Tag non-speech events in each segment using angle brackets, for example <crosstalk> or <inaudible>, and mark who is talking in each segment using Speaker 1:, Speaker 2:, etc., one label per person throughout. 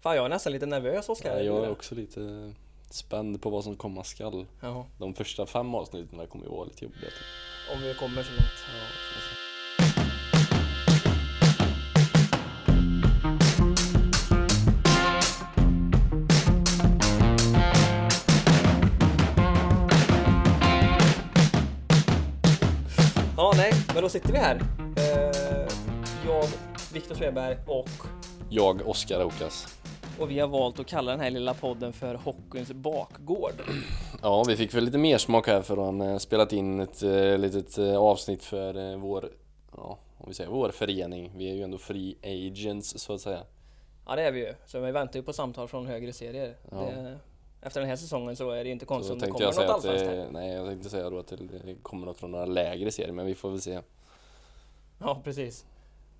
Speaker 1: Fan jag är nästan lite nervös Oskar.
Speaker 2: Ja, jag är också lite spänd på vad som komma skall.
Speaker 1: Ja,
Speaker 2: De första fem avsnitten kommer ju vara lite jobbiga. typ.
Speaker 1: om vi kommer så långt. Ja, nej, men då sitter vi här. Eh, jag, Viktor Sveberg och,
Speaker 2: Jag, Oskar Okas.
Speaker 1: och vi har valt att kalla den här lilla podden för Hockeyns bakgård.
Speaker 2: Ja, vi fick väl lite mer smak här för han eh, spelat in ett eh, litet eh, avsnitt för eh, vår, ja, om vi säger vår förening. Vi är ju ändå free agents så att säga.
Speaker 1: Ja, det är vi ju. Så vi väntar ju på samtal från högre serier.
Speaker 2: Ja.
Speaker 1: Det, efter den här säsongen så är det inte
Speaker 2: Så
Speaker 1: konstigt om det
Speaker 2: tänkte
Speaker 1: kommer
Speaker 2: jag
Speaker 1: något
Speaker 2: säga att,
Speaker 1: allsvenskt här.
Speaker 2: det, nej, jag tänkte säga då att det det kommer något från några lägre serier, men vi får väl se.
Speaker 1: Ja, precis.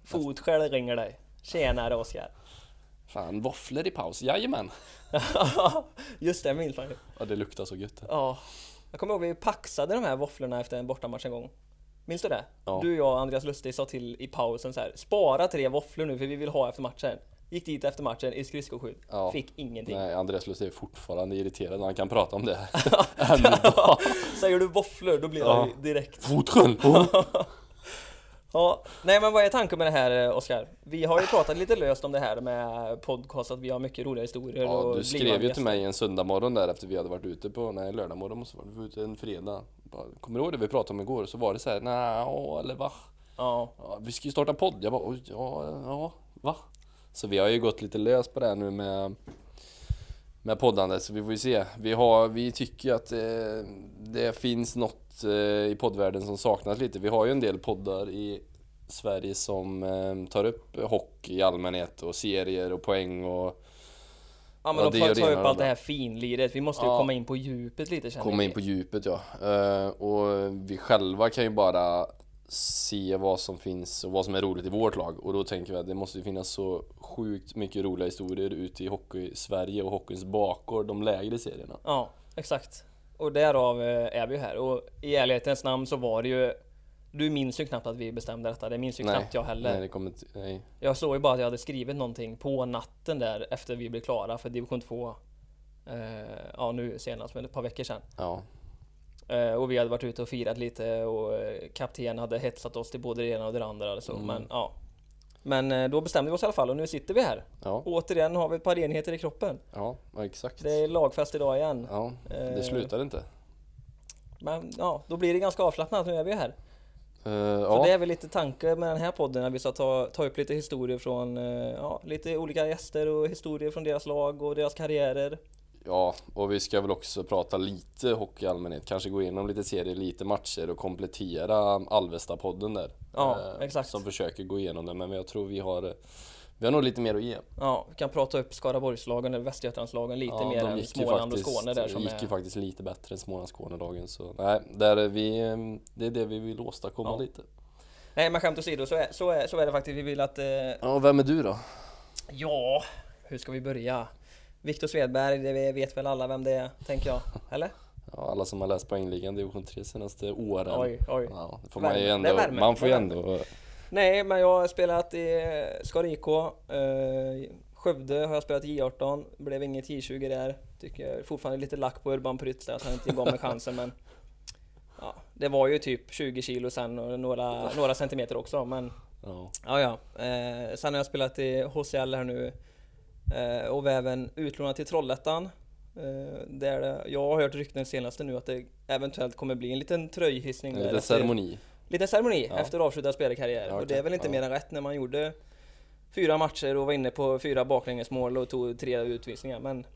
Speaker 1: Fotskäl ringer dig. Tjenare Oskar. <laughs>
Speaker 2: Fan, våfflor i paus, jajamän!
Speaker 1: Just det, minns man ju.
Speaker 2: Ja, det luktar så gött.
Speaker 1: Ja. Jag kommer ihåg vi paxade de här våfflorna efter en bortamatch en gång. Minns du det?
Speaker 2: Ja.
Speaker 1: Du, jag och Andreas Lustig sa till i pausen så här. Spara tre våfflor nu för vi vill ha efter matchen. Gick dit efter matchen i skridskoskydd.
Speaker 2: Ja.
Speaker 1: Fick ingenting. <laughs>
Speaker 2: Nej, Andreas Lustig är fortfarande irriterad när han kan prata om det. Än idag.
Speaker 1: Säger du våfflor då blir
Speaker 2: Ja.
Speaker 1: det ju direkt.
Speaker 2: <laughs> Fotsköld!
Speaker 1: Ja. Nej men vad är tanken med det här eh, Oskar? Vi har ju pratat lite löst om det här med podcast, att vi har mycket roliga historier
Speaker 2: Ja,
Speaker 1: och
Speaker 2: du skrev
Speaker 1: blivande
Speaker 2: ju
Speaker 1: gäster.
Speaker 2: till mig en söndag morgon där efter vi hade varit ute på, nej lördag morgon måste det vara, vi var ute en fredag. Bara, Kommer du ihåg det vi pratade om igår? Så var det så här, nja, åh, eller va?
Speaker 1: Ja.
Speaker 2: Ja, vi ska ju starta podd. Jag bara, oj, ja, ja, va? Så vi har ju gått lite lös på det här nu med, med poddandet, så vi får ju se. Vi, har, vi tycker ju att eh, det finns något eh, i poddvärlden som saknas lite. Vi har ju en del poddar i Sverige som eh, tar upp hockey i allmänhet och serier och poäng och
Speaker 1: Ja men
Speaker 2: Ja,
Speaker 1: då
Speaker 2: det gör
Speaker 1: får
Speaker 2: det
Speaker 1: ta upp
Speaker 2: ena och
Speaker 1: allt det
Speaker 2: det
Speaker 1: här finliret. Vi måste ju
Speaker 2: Ja.
Speaker 1: komma in på djupet lite känner
Speaker 2: Komma
Speaker 1: vi.
Speaker 2: in på djupet ja. Eh, och vi själva kan ju bara se vad som finns och vad som är roligt i vårt lag. Och då tänker vi att det måste ju finnas så sjukt mycket roliga historier ute i hockey-Sverige och hockeyns bakgård, de lägre serierna.
Speaker 1: Ja, exakt. Och därav eh, är vi ju här. Och i ärlighetens namn så var det ju Du minns ju knappt att vi bestämde detta. Det minns ju knappt jag heller.
Speaker 2: Nej, det kommer inte, nej.
Speaker 1: Jag såg ju bara att jag hade skrivit någonting på natten där efter vi blev klara för division 2. Eh, ja nu senast, men ett par veckor sedan.
Speaker 2: Ja.
Speaker 1: Eh, och vi hade varit ute och firat lite och eh, kapten hade hetsat oss till både det ena och det andra. Så,
Speaker 2: Mm.
Speaker 1: Men ja. Men eh, då bestämde vi oss i alla fall och nu sitter vi här.
Speaker 2: Ja,
Speaker 1: Återigen har vi ett par enheter i kroppen.
Speaker 2: ja, ja, exakt.
Speaker 1: Det är lagfest idag igen.
Speaker 2: Ja,
Speaker 1: Eh,
Speaker 2: det slutar inte.
Speaker 1: Men ja, då blir det ganska avslappnat. Nu är vi här.
Speaker 2: Eh,
Speaker 1: Så
Speaker 2: ja,
Speaker 1: det är väl lite tanke med den här podden. Att vi ska ta, ta upp lite historier från eh, ja, lite olika gäster och historier från deras lag och deras karriärer.
Speaker 2: ja, och vi ska väl också prata lite hockey i allmänhet. Kanske gå igenom lite serier, lite matcher och komplettera Alvesta-podden där.
Speaker 1: Ja,
Speaker 2: eh,
Speaker 1: exakt.
Speaker 2: som försöker gå igenom det men jag tror vi har vi har nog lite mer att ge.
Speaker 1: Ja, vi kan prata upp Skaraborgslagen eller Västergötlandslagen lite
Speaker 2: Ja,
Speaker 1: mer
Speaker 2: de
Speaker 1: än
Speaker 2: gick ju
Speaker 1: Småland
Speaker 2: faktiskt-
Speaker 1: och Skåne där som
Speaker 2: gick ju
Speaker 1: är...
Speaker 2: faktiskt lite bättre än Småland Skånedagen så nej, där är vi, eh, det är det vi vill åstadkomma
Speaker 1: Ja.
Speaker 2: lite.
Speaker 1: Nej men skämt åsido, så är, så, är, så är det faktiskt. Vi vill att... Eh,
Speaker 2: Ja, vem är du då?
Speaker 1: ja, hur ska vi börja? Viktor Svedberg, det vet väl alla vem det är, tänker jag. Eller?
Speaker 2: Ja, alla som har läst poängligan division 3 senaste åren.
Speaker 1: Oj, oj.
Speaker 2: Ja, det får man ju
Speaker 1: Värme.
Speaker 2: ändå,
Speaker 1: Det är värme.
Speaker 2: man får ju
Speaker 1: Det är värme.
Speaker 2: ändå
Speaker 1: Nej, men jag har spelat i eh, Skara IK, eh, Skövde har jag spelat i J18, blev inget J20 där. Tycker jag är fortfarande lite lack på Urban Prytz där, så han inte gav mig chansen men ja, Det var ju typ 20 kilo sen och några, några centimeter också men
Speaker 2: ja.
Speaker 1: ja, ja. Eh, sen har jag spelat i HCL här nu eh, och var även utlånad till Trollhättan. Eh, där det, jag har hört rykten senaste nu att det eventuellt kommer bli en liten tröjhissning
Speaker 2: En
Speaker 1: där
Speaker 2: liten
Speaker 1: efter-
Speaker 2: ceremoni.
Speaker 1: liten ceremoni
Speaker 2: Ja.
Speaker 1: efter avslutad spelkarriär.
Speaker 2: Ja,
Speaker 1: och det
Speaker 2: okej.
Speaker 1: är väl inte
Speaker 2: Ja.
Speaker 1: mer än rätt när man gjorde fyra matcher och var inne på fyra baklängesmål och tog tre utvisningar. Men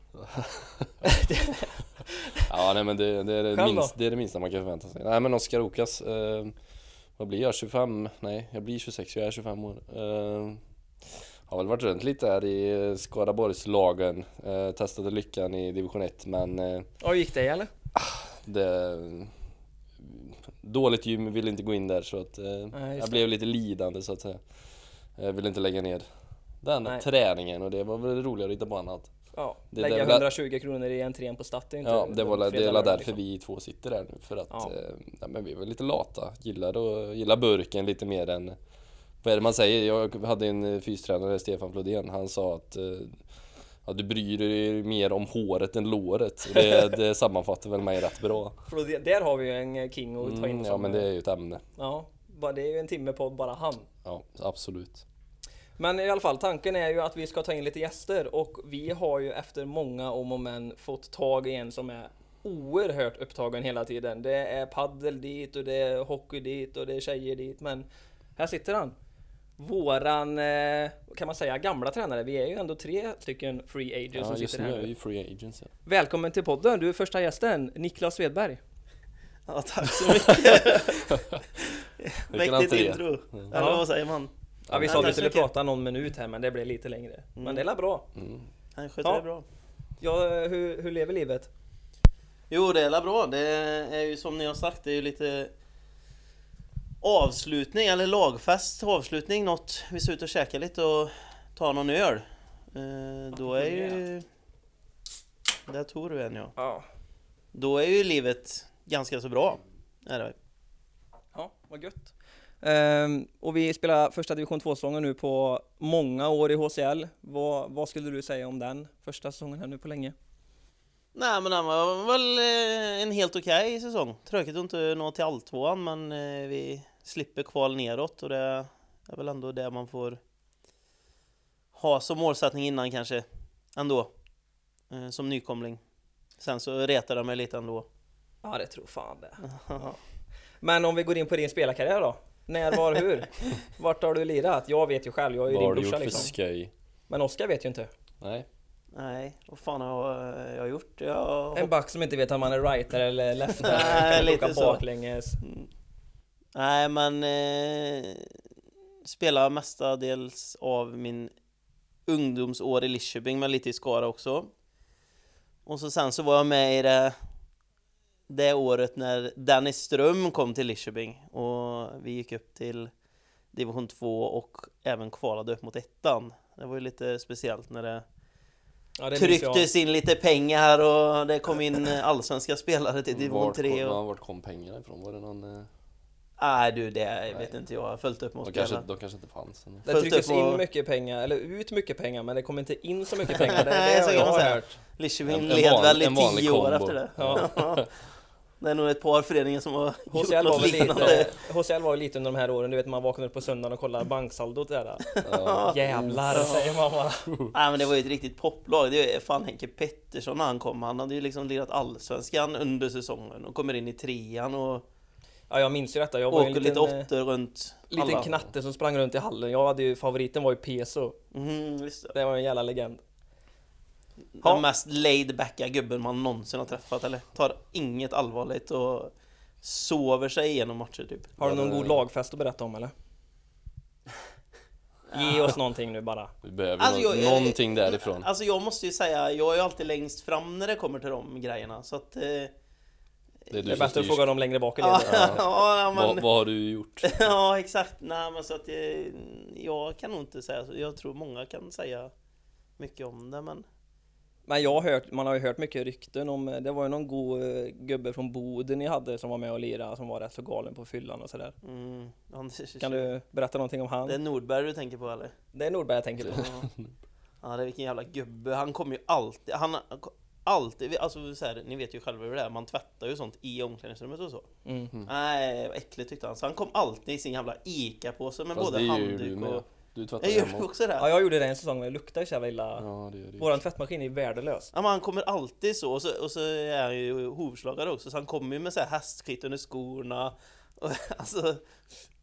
Speaker 2: Ja, nej men det, det, är det,
Speaker 1: Själv då?
Speaker 2: minst, det är det minsta man kan förvänta sig. Nej men Oskar Okas, eh, vad blir jag? 25? Nej, jag blir 26, jag är 25 år. Eh, har väl varit runt lite här i eh, Skaraborgslagen. Eh, testade lyckan i division 1 men eh,
Speaker 1: ja, gick det eller?
Speaker 2: det... Dåligt gym, ville inte gå in där så att eh,
Speaker 1: Nej, just
Speaker 2: jag
Speaker 1: det.
Speaker 2: blev lite lidande så att säga. Jag ville inte lägga ner den
Speaker 1: Nej.
Speaker 2: träningen och det var väl roligare att hitta på annat.
Speaker 1: Ja,
Speaker 2: Det
Speaker 1: lägga
Speaker 2: där-
Speaker 1: 120 kronor i entrén på Stat är ju inte
Speaker 2: Ja, det var la- det
Speaker 1: fredag
Speaker 2: är la
Speaker 1: lördag,
Speaker 2: därför
Speaker 1: liksom.
Speaker 2: vi två sitter där nu för att
Speaker 1: Ja.
Speaker 2: eh, ja, men vi var lite lata, gillade och gillar burken lite mer än vad är det man säger? Jag hade en eh, fystränare, Stefan Flodén, han sa att eh, att du bryr dig mer om håret än låret. Och Det,
Speaker 1: <laughs>
Speaker 2: det sammanfattar väl mig rätt bra.
Speaker 1: För då, det- där har vi ju en king att ta in
Speaker 2: Mm, ja
Speaker 1: som- eh,
Speaker 2: men det är ju ett ämne.
Speaker 1: ja, bara- det är ju en timme på bara han.
Speaker 2: Ja, absolut.
Speaker 1: Men i alla fall, tanken är ju att vi ska ta in lite gäster och vi har ju efter många om och men fått tag i en som är oerhört upptagen hela tiden. Det är paddel dit och det är hockey dit och det är tjejer dit, men här sitter han. Våran, eh, kan man säga, gamla tränare. Vi är ju ändå tre stycken free agents
Speaker 2: Ja,
Speaker 1: som
Speaker 2: just
Speaker 1: sitter
Speaker 2: nu är
Speaker 1: här.
Speaker 2: vi
Speaker 1: nu.
Speaker 2: free agents. Ja.
Speaker 1: Välkommen till podden, du är första gästen, Niklas Svedberg.
Speaker 3: Ja, tack så mycket.
Speaker 2: <laughs> Vilken
Speaker 3: Mäktigt
Speaker 2: entré.
Speaker 3: intro.
Speaker 1: Ja.
Speaker 3: Eller vad säger man?
Speaker 1: Ja, vi
Speaker 3: Ja,
Speaker 1: sa att vi
Speaker 3: tack så
Speaker 1: skulle
Speaker 3: mycket.
Speaker 1: prata någon minut här, men det blev lite längre. Men det är bra.
Speaker 2: Mm.
Speaker 3: Han sköter
Speaker 1: Ja.
Speaker 3: det bra.
Speaker 1: Ja, eh, hur, hur lever livet?
Speaker 3: Jo, det är la bra. Det är ju som ni har sagt, det är ju lite avslutning, eller lagfest avslutning, något. Vi ska ut och käka lite och ta någon öl. Eh, Då är ju... Där tog du en ja.
Speaker 1: Ja,
Speaker 3: Då är ju livet ganska så bra. Är det.
Speaker 1: Ja, vad gött. Ehm, och vi spelar första division 2-säsongen nu på många år i HCL. Vad, vad skulle du säga om den första säsongen här nu på länge?
Speaker 3: Nej men han var väl eh, en helt okej säsong. Tråkigt att inte nå till alltvåan men eh, vi slipper kval neråt och det är väl ändå det man får ha som målsättning innan kanske. Ändå. Eh, Som nykomling. Sen så retar de mig lite ändå. <laughs>
Speaker 1: Ja, det tror fan det. Men om vi går in på din spelarkarriär då? När, var,
Speaker 3: <laughs>
Speaker 1: hur? Vart har du lirat? Jag vet ju själv, jag är ju
Speaker 2: Vad har
Speaker 1: din
Speaker 2: du
Speaker 1: brorsa
Speaker 2: gjort för
Speaker 1: liksom.
Speaker 2: skoj?
Speaker 1: Men Oskar vet ju inte.
Speaker 2: Nej.
Speaker 3: Nej, vad fan har jag, jag har gjort? Jag
Speaker 1: En back som inte vet om man är righter eller leftare,
Speaker 3: Nej,
Speaker 1: kan
Speaker 3: lite
Speaker 1: plocka
Speaker 3: så.
Speaker 1: baklänges.
Speaker 3: Nej, men eh, spelar mestadels av min ungdomsår i Lidköping, men lite i Skara också. Och så sen så var jag med i det, det året när Dennis Ström kom till Lidköping och vi gick upp till division 2 och även kvalade upp mot ettan. Det var ju lite speciellt när det
Speaker 1: Ja, det minns jag.
Speaker 3: trycktes in lite pengar och det kom in eh, allsvenska spelare till division
Speaker 2: Vart
Speaker 3: 3.
Speaker 2: kom,
Speaker 3: Och...
Speaker 2: ja, vart kom pengarna ifrån? Var det någon... eh,
Speaker 3: Nej du, det vet inte jag. Jag har följt upp mot
Speaker 2: De kanske,
Speaker 3: spelarna.
Speaker 2: de kanske inte fanns. ännu.
Speaker 1: Det
Speaker 3: Fullt
Speaker 1: trycktes
Speaker 3: upp och-
Speaker 1: in mycket pengar, eller ut mycket pengar, men det kom inte in så mycket
Speaker 3: <laughs>
Speaker 1: pengar. Det
Speaker 3: Nej,
Speaker 1: är
Speaker 3: så
Speaker 1: det
Speaker 3: kan
Speaker 1: jag
Speaker 3: man
Speaker 1: har
Speaker 3: säga.
Speaker 1: hört.
Speaker 3: Lidköping
Speaker 2: En- en
Speaker 3: led
Speaker 2: vanlig-
Speaker 3: väl i
Speaker 2: en vanlig
Speaker 3: tio år
Speaker 2: kombo.
Speaker 3: efter det. <laughs>
Speaker 1: Ja.
Speaker 3: det är nog ett par föreningar som har gjort
Speaker 1: HCL var,
Speaker 3: något
Speaker 1: väl
Speaker 3: liknande.
Speaker 1: lite, HCL var ju lite under de här åren, du vet man vaknar upp på söndagen och kollar banksaldot där.
Speaker 2: Ja.
Speaker 1: <laughs> Jävlar säger man bara.
Speaker 3: Nej men det var ju ett riktigt poplag. Det är fan Henke Pettersson när han kom. Han hade ju liksom lirat allsvenskan under säsongen och kommer in i trean och
Speaker 1: Ja jag minns ju detta, jag var ju en
Speaker 3: åker
Speaker 1: liten,
Speaker 3: lite
Speaker 1: eh,
Speaker 3: åttor runt
Speaker 1: liten
Speaker 3: alla.
Speaker 1: knatte som sprang runt i hallen. Jag hade ju, favoriten var ju Peso.
Speaker 3: Mm, visst det.
Speaker 1: Det var en jävla legend. Ja.
Speaker 3: Den mest laid-backa gubben man någonsin har träffat eller? Tar inget allvarligt och sover sig igenom matcher typ.
Speaker 1: Har du
Speaker 2: Ja,
Speaker 1: någon
Speaker 2: det-
Speaker 1: god lagfest att berätta om eller? Ge oss någonting nu bara.
Speaker 2: Vi behöver
Speaker 3: Alltså,
Speaker 2: nå-
Speaker 3: jag- jag-
Speaker 2: någonting därifrån.
Speaker 3: Alltså jag måste ju säga, jag är ju alltid längst fram när det kommer till de grejerna så att... Eh,
Speaker 2: Det är
Speaker 1: Det
Speaker 2: du
Speaker 1: är bättre
Speaker 2: som
Speaker 1: att
Speaker 2: styrs.
Speaker 1: fråga dem längre bak i
Speaker 3: Ja,
Speaker 1: ledet.
Speaker 3: <laughs> ja,
Speaker 2: Vad,
Speaker 3: men,
Speaker 2: vad har
Speaker 1: <laughs>
Speaker 2: du gjort?
Speaker 3: ja, exakt. Nej, men så att eh, jag kan nog inte säga så. Jag tror många kan säga mycket om det, men
Speaker 1: Men jag har hört, man har ju hört mycket rykten om, det var ju någon god eh, gubbe från Boden ni hade som var med och lirade som var rätt så galen på fyllan och sådär.
Speaker 3: mm, <laughs> Anders,
Speaker 1: Kan du berätta någonting om han?
Speaker 3: det är Nordberg du tänker på eller?
Speaker 1: Det är Nordberg jag tänker på.
Speaker 3: Ja. ja, det är vilken jävla gubbe. Han kommer ju alltid, han alltid, alltså så här, ni vet ju själva hur det är, man tvättar ju sånt i omklädningsrummet och så.
Speaker 1: Mm.
Speaker 3: Nej, vad äckligt tyckte han. Så han kom alltid i sin jävla ICA-påse med
Speaker 2: Fast
Speaker 3: både
Speaker 2: det gör
Speaker 1: typ,
Speaker 2: ju
Speaker 3: handduk
Speaker 2: du
Speaker 3: och...
Speaker 2: med. Du tvättar
Speaker 3: Jag
Speaker 2: ju
Speaker 3: gör du
Speaker 2: hemma.
Speaker 3: också det?
Speaker 1: Ja, jag gjorde det en säsong, men det luktade så jävla illa.
Speaker 2: Ja, det gör du ju.
Speaker 1: Våran tvättmaskin är värdelös.
Speaker 3: Ja, men han kommer alltid så och så, och så är han ju hovslagare också så han kommer ju med så här hästskit under skorna <laughs> och, Alltså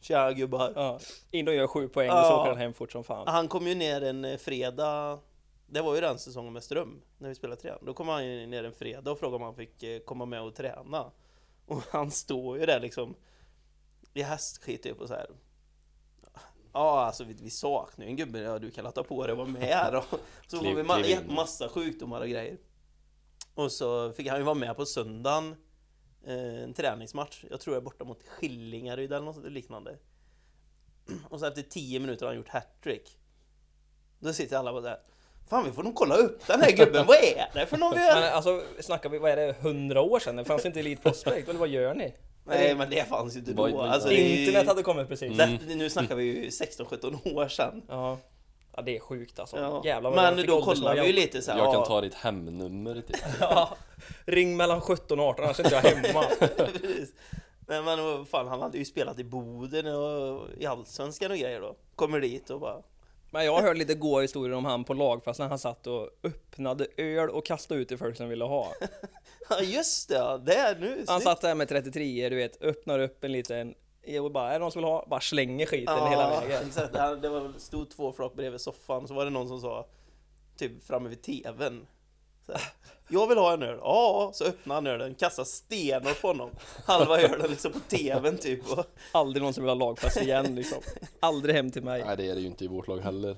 Speaker 3: Tja gubbar
Speaker 1: Ja. In och gör sju poäng och så
Speaker 3: Ja.
Speaker 1: åker han hem fort som fan.
Speaker 3: Han kom ju ner en eh, fredag Det var ju den säsongen med Ström När vi spelade trean Då kom han ju ner en fredag och frågade om han fick eh, komma med och träna Och han står ju där liksom I hästskit typ och så här Ja alltså vi, vi saknar ju en gubbe, ja du kan la ta på dig och vara med här då. Så får
Speaker 2: Kliv-
Speaker 3: vi ma-
Speaker 2: kliv in.
Speaker 3: massa sjukdomar och grejer Och så fick han ju vara med på söndagen eh, En träningsmatch, jag tror jag är borta mot Skillingaryd eller något liknande Och så efter 10 minuter har han gjort hattrick Då sitter alla bara där Fan vi får nog kolla upp den här gubben, vad är det för någon vi
Speaker 1: Men
Speaker 3: gör?
Speaker 1: alltså, snackar vi, vad är det, hundra år sedan? Det fanns inte Elite Prospect, eller vad gör ni?
Speaker 3: Nej men det fanns ju inte
Speaker 2: Vad- Mm.
Speaker 3: då
Speaker 2: vad-
Speaker 3: alltså, det är ju-
Speaker 1: Mm. Internet hade kommit precis.
Speaker 3: det, Nu snackar vi ju 16-17 år sedan
Speaker 1: Ja. Ja, det är sjukt alltså.
Speaker 3: Ja.
Speaker 1: Jävlar vad jag
Speaker 3: Men
Speaker 1: fick
Speaker 3: då
Speaker 1: åldersnoja.
Speaker 3: kollar vi ju lite så här,
Speaker 2: Jag kan
Speaker 3: ja,
Speaker 2: ta ditt hemnummer
Speaker 1: <laughs>
Speaker 2: typ.
Speaker 1: Ja. Ring mellan 17 och 18 annars är inte jag hemma.
Speaker 3: <laughs> precis. Nej men vad fan, han hade ju spelat i Boden och i Allsvenskan och grejer då. Kommer dit och bara...
Speaker 1: Men jag har hört lite goa historier om han på lagfest när han satt och öppnade öl och kastade ut till folk som ville ha.
Speaker 3: Ja just det, ja, det är nu!
Speaker 1: Han
Speaker 3: snyggt.
Speaker 1: satt där med 33 du vet, öppnar upp en liten och bara, är det någon som vill ha? Bara slänger skiten
Speaker 3: ja,
Speaker 1: hela vägen.
Speaker 3: Exakt, det, här- det var, stod två flak bredvid soffan, så var det någon som sa typ framme vid tvn. Så här, jag vill ha en öl. Ja, så öppnade han ölen, kastade stenar på honom. Halva ölen liksom på tvn typ. Och,
Speaker 1: Aldrig någon som vill ha lagfest igen liksom. Aldrig hem till mig.
Speaker 2: Nej det är det ju inte i vårt lag heller.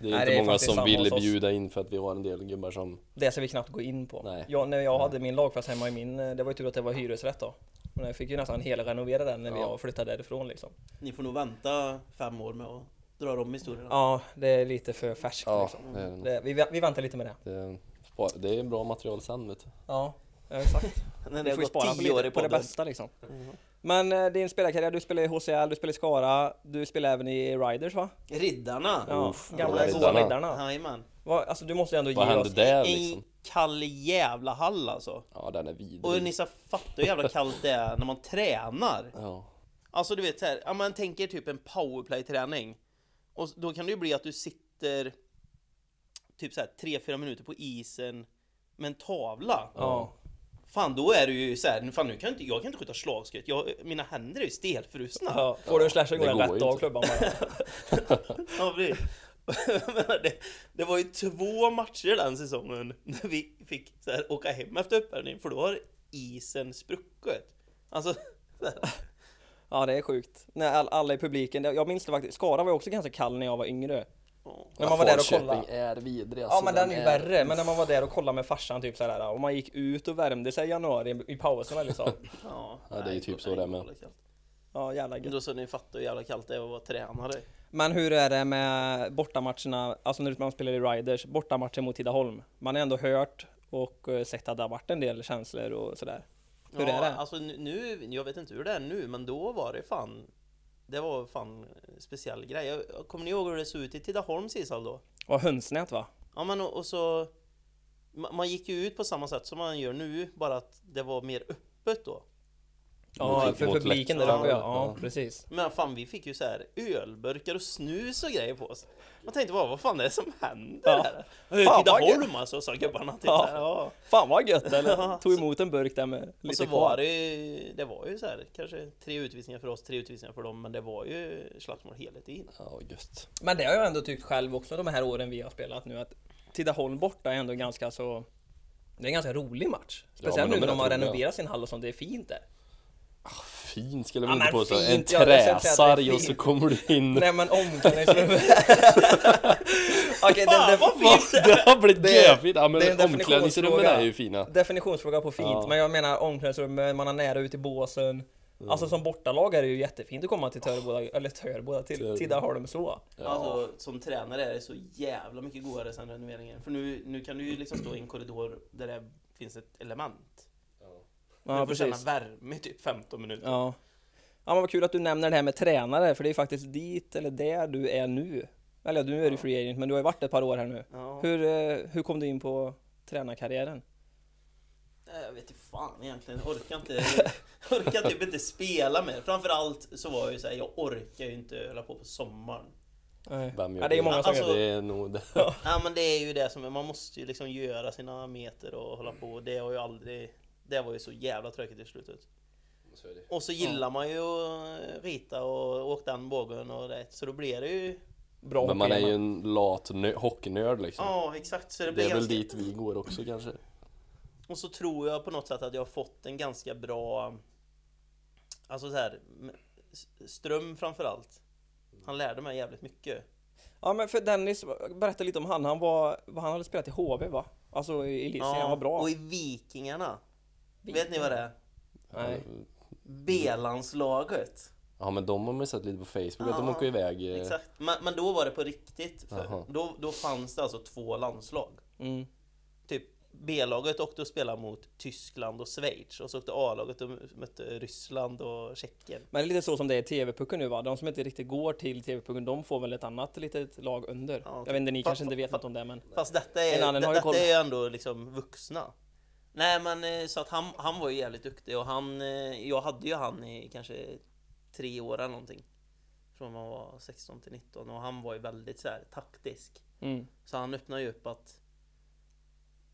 Speaker 2: Det är
Speaker 1: Nej,
Speaker 2: inte
Speaker 1: det är
Speaker 2: många
Speaker 1: faktiskt
Speaker 2: som
Speaker 1: samma
Speaker 2: vill
Speaker 1: hos oss.
Speaker 2: bjuda in för att vi har en del gubbar som...
Speaker 1: Det ska vi knappt gå in på.
Speaker 2: Nej.
Speaker 1: Jag, när jag hade min lagfest hemma i min, eh, det var ju tur att det var hyresrätt då. Men jag fick ju nästan helrenovera den när
Speaker 2: Ja.
Speaker 1: jag flyttade därifrån liksom.
Speaker 3: ni får nog vänta fem år med att dra om historierna.
Speaker 1: Ja, det är lite för färskt
Speaker 2: Ja,
Speaker 1: liksom.
Speaker 2: det är, det nog.
Speaker 1: Det, vi, vä- vi väntar lite med det.
Speaker 2: det, spar- det är bra material sen vet du.
Speaker 1: Ja, exakt.
Speaker 3: När
Speaker 1: Vi
Speaker 3: det har
Speaker 1: får ju spara
Speaker 3: gått
Speaker 1: på,
Speaker 3: tio år i
Speaker 1: lite, på det
Speaker 3: podden. Mm.
Speaker 1: bästa liksom. Men eh, din spelarkarriär, du spelar i HCL, du spelar i Skara, du spelar även i Riders va?
Speaker 3: Riddarna!
Speaker 1: Ja,
Speaker 2: Uff,
Speaker 1: gamla
Speaker 2: Riddarna.
Speaker 1: goa Riddarna.
Speaker 3: Jajamän.
Speaker 1: Va, alltså du måste ju ändå
Speaker 2: Vad
Speaker 1: ge
Speaker 2: hände
Speaker 1: oss...
Speaker 2: där
Speaker 3: En
Speaker 2: liksom?
Speaker 3: kall jävla hall alltså.
Speaker 2: Ja den är
Speaker 3: Och
Speaker 2: vidrig.
Speaker 3: ni så fattar hur jävla kallt det är när man tränar.
Speaker 2: Ja.
Speaker 3: Alltså du vet så här, ja men tänk er typ en powerplay-träning. Och då kan det ju bli att du sitter typ så här 3-4 minuter på isen med en tavla.
Speaker 1: Ja.
Speaker 3: Fan då är du ju så här, nu- fan nu kan jag inte, jag kan inte skjuta slagskott. Jag, mina händer är ju stelfrusna. <laughs> Ja.
Speaker 1: Ja, får du en slash
Speaker 2: Det
Speaker 1: går den
Speaker 2: går
Speaker 1: rätt
Speaker 2: ju
Speaker 1: av
Speaker 2: inte.
Speaker 1: klubban bara.
Speaker 3: <laughs> precis. Jag menar, det, det var ju två matcher den säsongen när vi fick så här, åka hem efter uppvärmning för då har isen spruckit. Alltså, så här,
Speaker 1: <laughs> Ja, det är sjukt. När all, alla i publiken, det- jag minns det faktiskt, Skara var ju också ganska kall när jag var yngre.
Speaker 3: ja.
Speaker 1: När man var där och kollade.
Speaker 2: Falköping är vidrig
Speaker 1: Ja
Speaker 2: alltså,
Speaker 1: men den är ju värre, men när man var där och kollade med farsan typ sådär och man gick ut och värmde sig i januari i pauserna <laughs> liksom.
Speaker 3: ja,
Speaker 2: Ja, det är ju
Speaker 3: nej,
Speaker 2: typ
Speaker 3: då-
Speaker 2: så
Speaker 3: nej,
Speaker 2: det är
Speaker 3: då
Speaker 2: med.
Speaker 3: var det kallt.
Speaker 1: Ja jävla
Speaker 3: Men
Speaker 1: gött.
Speaker 3: Då så ni fattar hur jävla kallt det är att vara tränare.
Speaker 1: Men hur är det med bortamatcherna, alltså när man spelar i Riders, bortamatcher mot Tidaholm? Man har ändå hört och eh, sett att det har varit en del känslor och sådär. Hur är det?
Speaker 3: Alltså nu- nu, jag vet inte hur det är nu, men då var det fan Det var fan en speciell grej. Jag, jag- kommer ni ihåg hur det såg ut i Tidaholms ishall då?
Speaker 1: Och hönsnät va?
Speaker 3: Ja men och, och så man, man gick ju ut på samma sätt som man gör nu, bara att det var mer öppet då.
Speaker 1: Ja,
Speaker 2: Mot-
Speaker 1: för
Speaker 2: mot
Speaker 1: publiken där
Speaker 3: läktaren,
Speaker 1: uppe ja.
Speaker 2: ja.
Speaker 1: ja, precis.
Speaker 3: Men fan vi fick ju så här ölburkar och snus och grejer på oss. Man tänkte bara vad fan är det som händer
Speaker 1: Ja.
Speaker 3: här?
Speaker 1: Fan, vad
Speaker 3: Tidaholm alltså sa gubbarna. Typ,
Speaker 1: Ja.
Speaker 3: så här, ja.
Speaker 1: Fan vad gött <laughs> eller?
Speaker 3: Ja,
Speaker 1: Tog emot en burk där med
Speaker 3: Och så
Speaker 1: lite
Speaker 3: var
Speaker 1: kvar.
Speaker 3: det ju, det var ju så här, kanske tre utvisningar för oss, tre utvisningar för dem, men det var ju slagsmål hela tiden.
Speaker 2: Ja gött.
Speaker 1: Men det har jag ändå tyckt själv också de här åren vi har spelat nu att Tidaholm borta är ändå ganska så det är en ganska rolig match. Speciellt
Speaker 2: men
Speaker 1: nu när
Speaker 2: de är
Speaker 1: de har
Speaker 2: rätt roliga.
Speaker 1: renoverat sin hall och sånt, det är fint där.
Speaker 2: Fin skulle
Speaker 1: Ja,
Speaker 2: jag väl inte
Speaker 1: men
Speaker 2: påstå. En
Speaker 1: fint, ja, jag ska inte säga att det är
Speaker 2: träsarg och så
Speaker 1: fint.
Speaker 2: kommer du in.
Speaker 1: Nej men <laughs> omklädningsrummet... Okej,
Speaker 3: Fan,
Speaker 1: det,
Speaker 3: vad
Speaker 1: det,
Speaker 3: fint!
Speaker 2: Va? Det har blivit
Speaker 1: Det-
Speaker 2: görfint! Ja
Speaker 1: det är en
Speaker 2: men omklädningsrummen
Speaker 1: definitionsfråga.
Speaker 2: är ju fina.
Speaker 1: definitionsfråga på fint,
Speaker 2: Ja.
Speaker 1: men jag menar omklädningsrummet, man har nära ut i båsen. Alltså som bortalag är det ju jättefint att komma till Töreboda, eller Töreboda, till
Speaker 2: Töreboda.
Speaker 1: Tidaholm så.
Speaker 3: Alltså som tränare är det så jävla mycket godare sen renoveringen. För nu, nu kan du ju liksom stå i en korridor där det finns ett element.
Speaker 1: Ja,
Speaker 3: du får känna
Speaker 1: precis.
Speaker 3: värme i typ 15 minuter.
Speaker 1: Ja. ja, men vad kul att du nämner det här med tränare, för det är faktiskt dit, eller där du är nu. Eller du är ju free agent, men du har ju varit ett par år här nu.
Speaker 3: Ja.
Speaker 1: Hur, eh, hur kom du in på tränarkarriären?
Speaker 3: Nej, Jag vet inte fan egentligen, jag orkar inte, jag orkar typ inte spela mer. Framförallt så var jag ju såhär, jag orkar ju inte hålla på på sommaren.
Speaker 1: Nej.
Speaker 2: Vem gör
Speaker 1: Ja, det är många som gör
Speaker 3: Alltså-
Speaker 1: det.
Speaker 2: Det är nog det.
Speaker 3: Ja men det är ju det som, man måste ju liksom göra sina meter och hålla på. Det har ju aldrig, det var ju så jävla tråkigt i slutet. Och så gillar man ju att rita och åka den bågen och det, så då blir det ju...
Speaker 1: Bra
Speaker 2: Men man är
Speaker 1: hockey,
Speaker 2: ju en lat nö- hockeynörd liksom.
Speaker 3: Ja exakt, så det blir
Speaker 2: Det är väl
Speaker 3: ganska...
Speaker 2: dit vi går också kanske.
Speaker 3: Och så tror jag på något sätt att jag har fått en ganska bra... Alltså så här, s- Ström framförallt. Han lärde mig jävligt mycket.
Speaker 1: Ja men för Dennis, berätta lite om han. Han, var, han hade spelat i HV va? Alltså i Elitserien, han var bra.
Speaker 3: Och i Vikingarna. Vet ni
Speaker 1: Vikingarna?
Speaker 3: vad det är?
Speaker 1: Nej.
Speaker 3: B-landslaget.
Speaker 2: Ja men de har man ju sett lite på Facebook att de
Speaker 3: Ja,
Speaker 2: åker iväg. eh,
Speaker 3: Exakt. Men, men då var det på riktigt. För
Speaker 2: Jaha.
Speaker 3: då, då fanns det alltså två landslag.
Speaker 1: Mm.
Speaker 3: Typ B-laget åkte och spelade mot Tyskland och Schweiz och så åkte A-laget och mötte Ryssland och Tjeckien.
Speaker 1: Men det är lite så som det är i TV-pucken nu va? De som inte riktigt går till TV-pucken, de får väl ett annat litet lag under?
Speaker 3: Ja, okej.
Speaker 1: Jag vet inte, ni
Speaker 3: Fa-
Speaker 1: kanske inte vet
Speaker 3: fa-
Speaker 1: något om det men...
Speaker 3: Fast detta är,
Speaker 1: En annan har ju
Speaker 3: detta
Speaker 1: koll.
Speaker 3: är ju ändå liksom vuxna. Nej men eh, så att han, han var ju jävligt duktig och han, eh, jag hade ju han i kanske tre år eller någonting. Från man var 16 till 19 och han var ju väldigt så här taktisk.
Speaker 1: Mm.
Speaker 3: Så han öppnar ju upp att